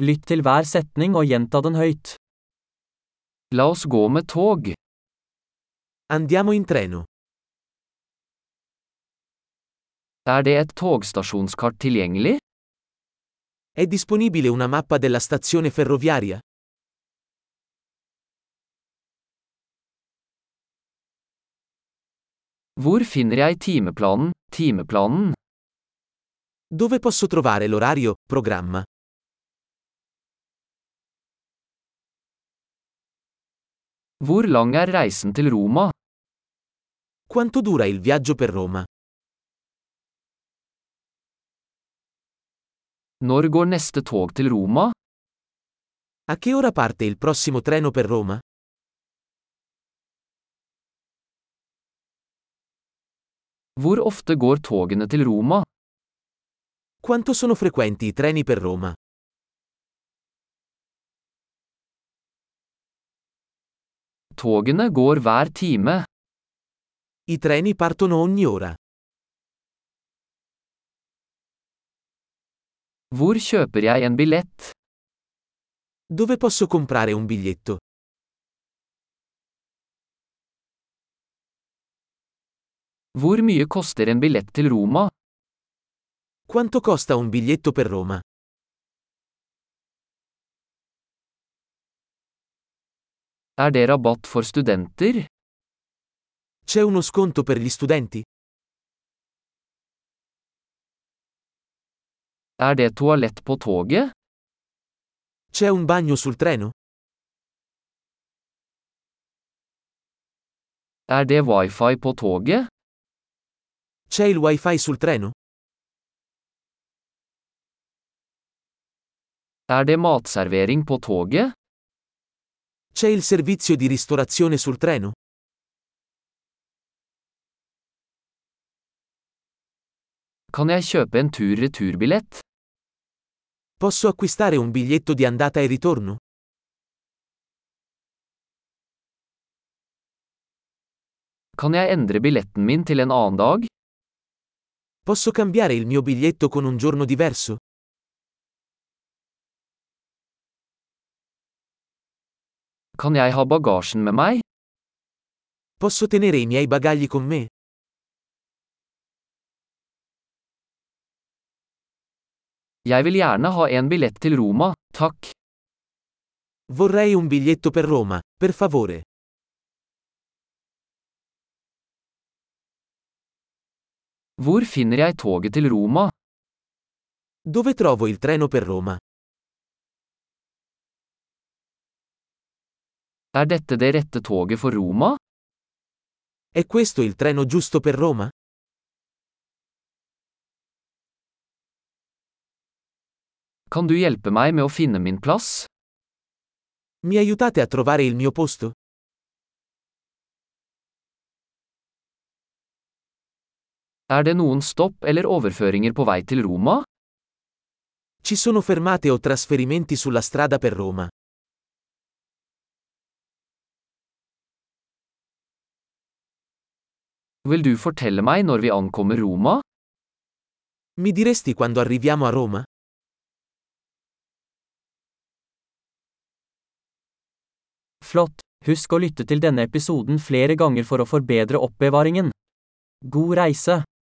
Lytt til hver setning og gjenta den høyt. La oss gå med tog. Andiamo in treno. Er det et togstasjonskart tilgjengelig? È disponibile una mappa della stazione ferroviaria? Hvor finner jeg timeplanen, timeplanen? Dove posso trovare l'orario, programma? Hvor lang er reisen til Roma? Quanto dura il viaggio per Roma? Når går neste tog til Roma? A che ora parte il prossimo treno per Roma? Hvor ofte går togene til Roma? Quanto sono frequenti i treni per Roma? Togene går hver time. I treni partono ogni ora. Hvor kjøper jeg en billett? Dove posso comprare un biglietto? Hvor mye koster en billett til Roma? Quanto costa un biglietto per Roma? Er det rabatt for studenter? C'è uno sconto per gli studenti? Er det toalett på toget? C'è un bagno sul treno? Er det wifi på toget? C'è il wifi sul treno? Er det matservering på toget? C'è il servizio di ristorazione sul treno? Kan jeg kjøpe en tur-returbillett? Posso acquistare un biglietto di andata e ritorno? Kan jeg endre billetten min til en annen dag? Posso cambiare il mio biglietto con un giorno diverso? Kan jeg ha bagasjen med meg? Posso tenere i miei bagagli con me? Jeg vil gjerne ha en billett til Roma, takk. Vorrei un biglietto per Roma, per favore. Hvor finner jeg toget til Roma? Dove trovo il treno per Roma? Er dette det rette toget for Roma? È questo il treno giusto per Roma? Kan du hjelpe meg med å finne min plass? Mi aiutate a trovare il mio posto? Er det noen stopp eller overføringer på vei til Roma? Ci sono fermate o trasferimenti sulla strada per Roma? Vil du fortelle meg når vi ankommer Roma? Mi diresti quando arriviamo a Roma? Flott! Husk å lytte til denne episoden flere ganger for å forbedre oppbevaringen. God reise!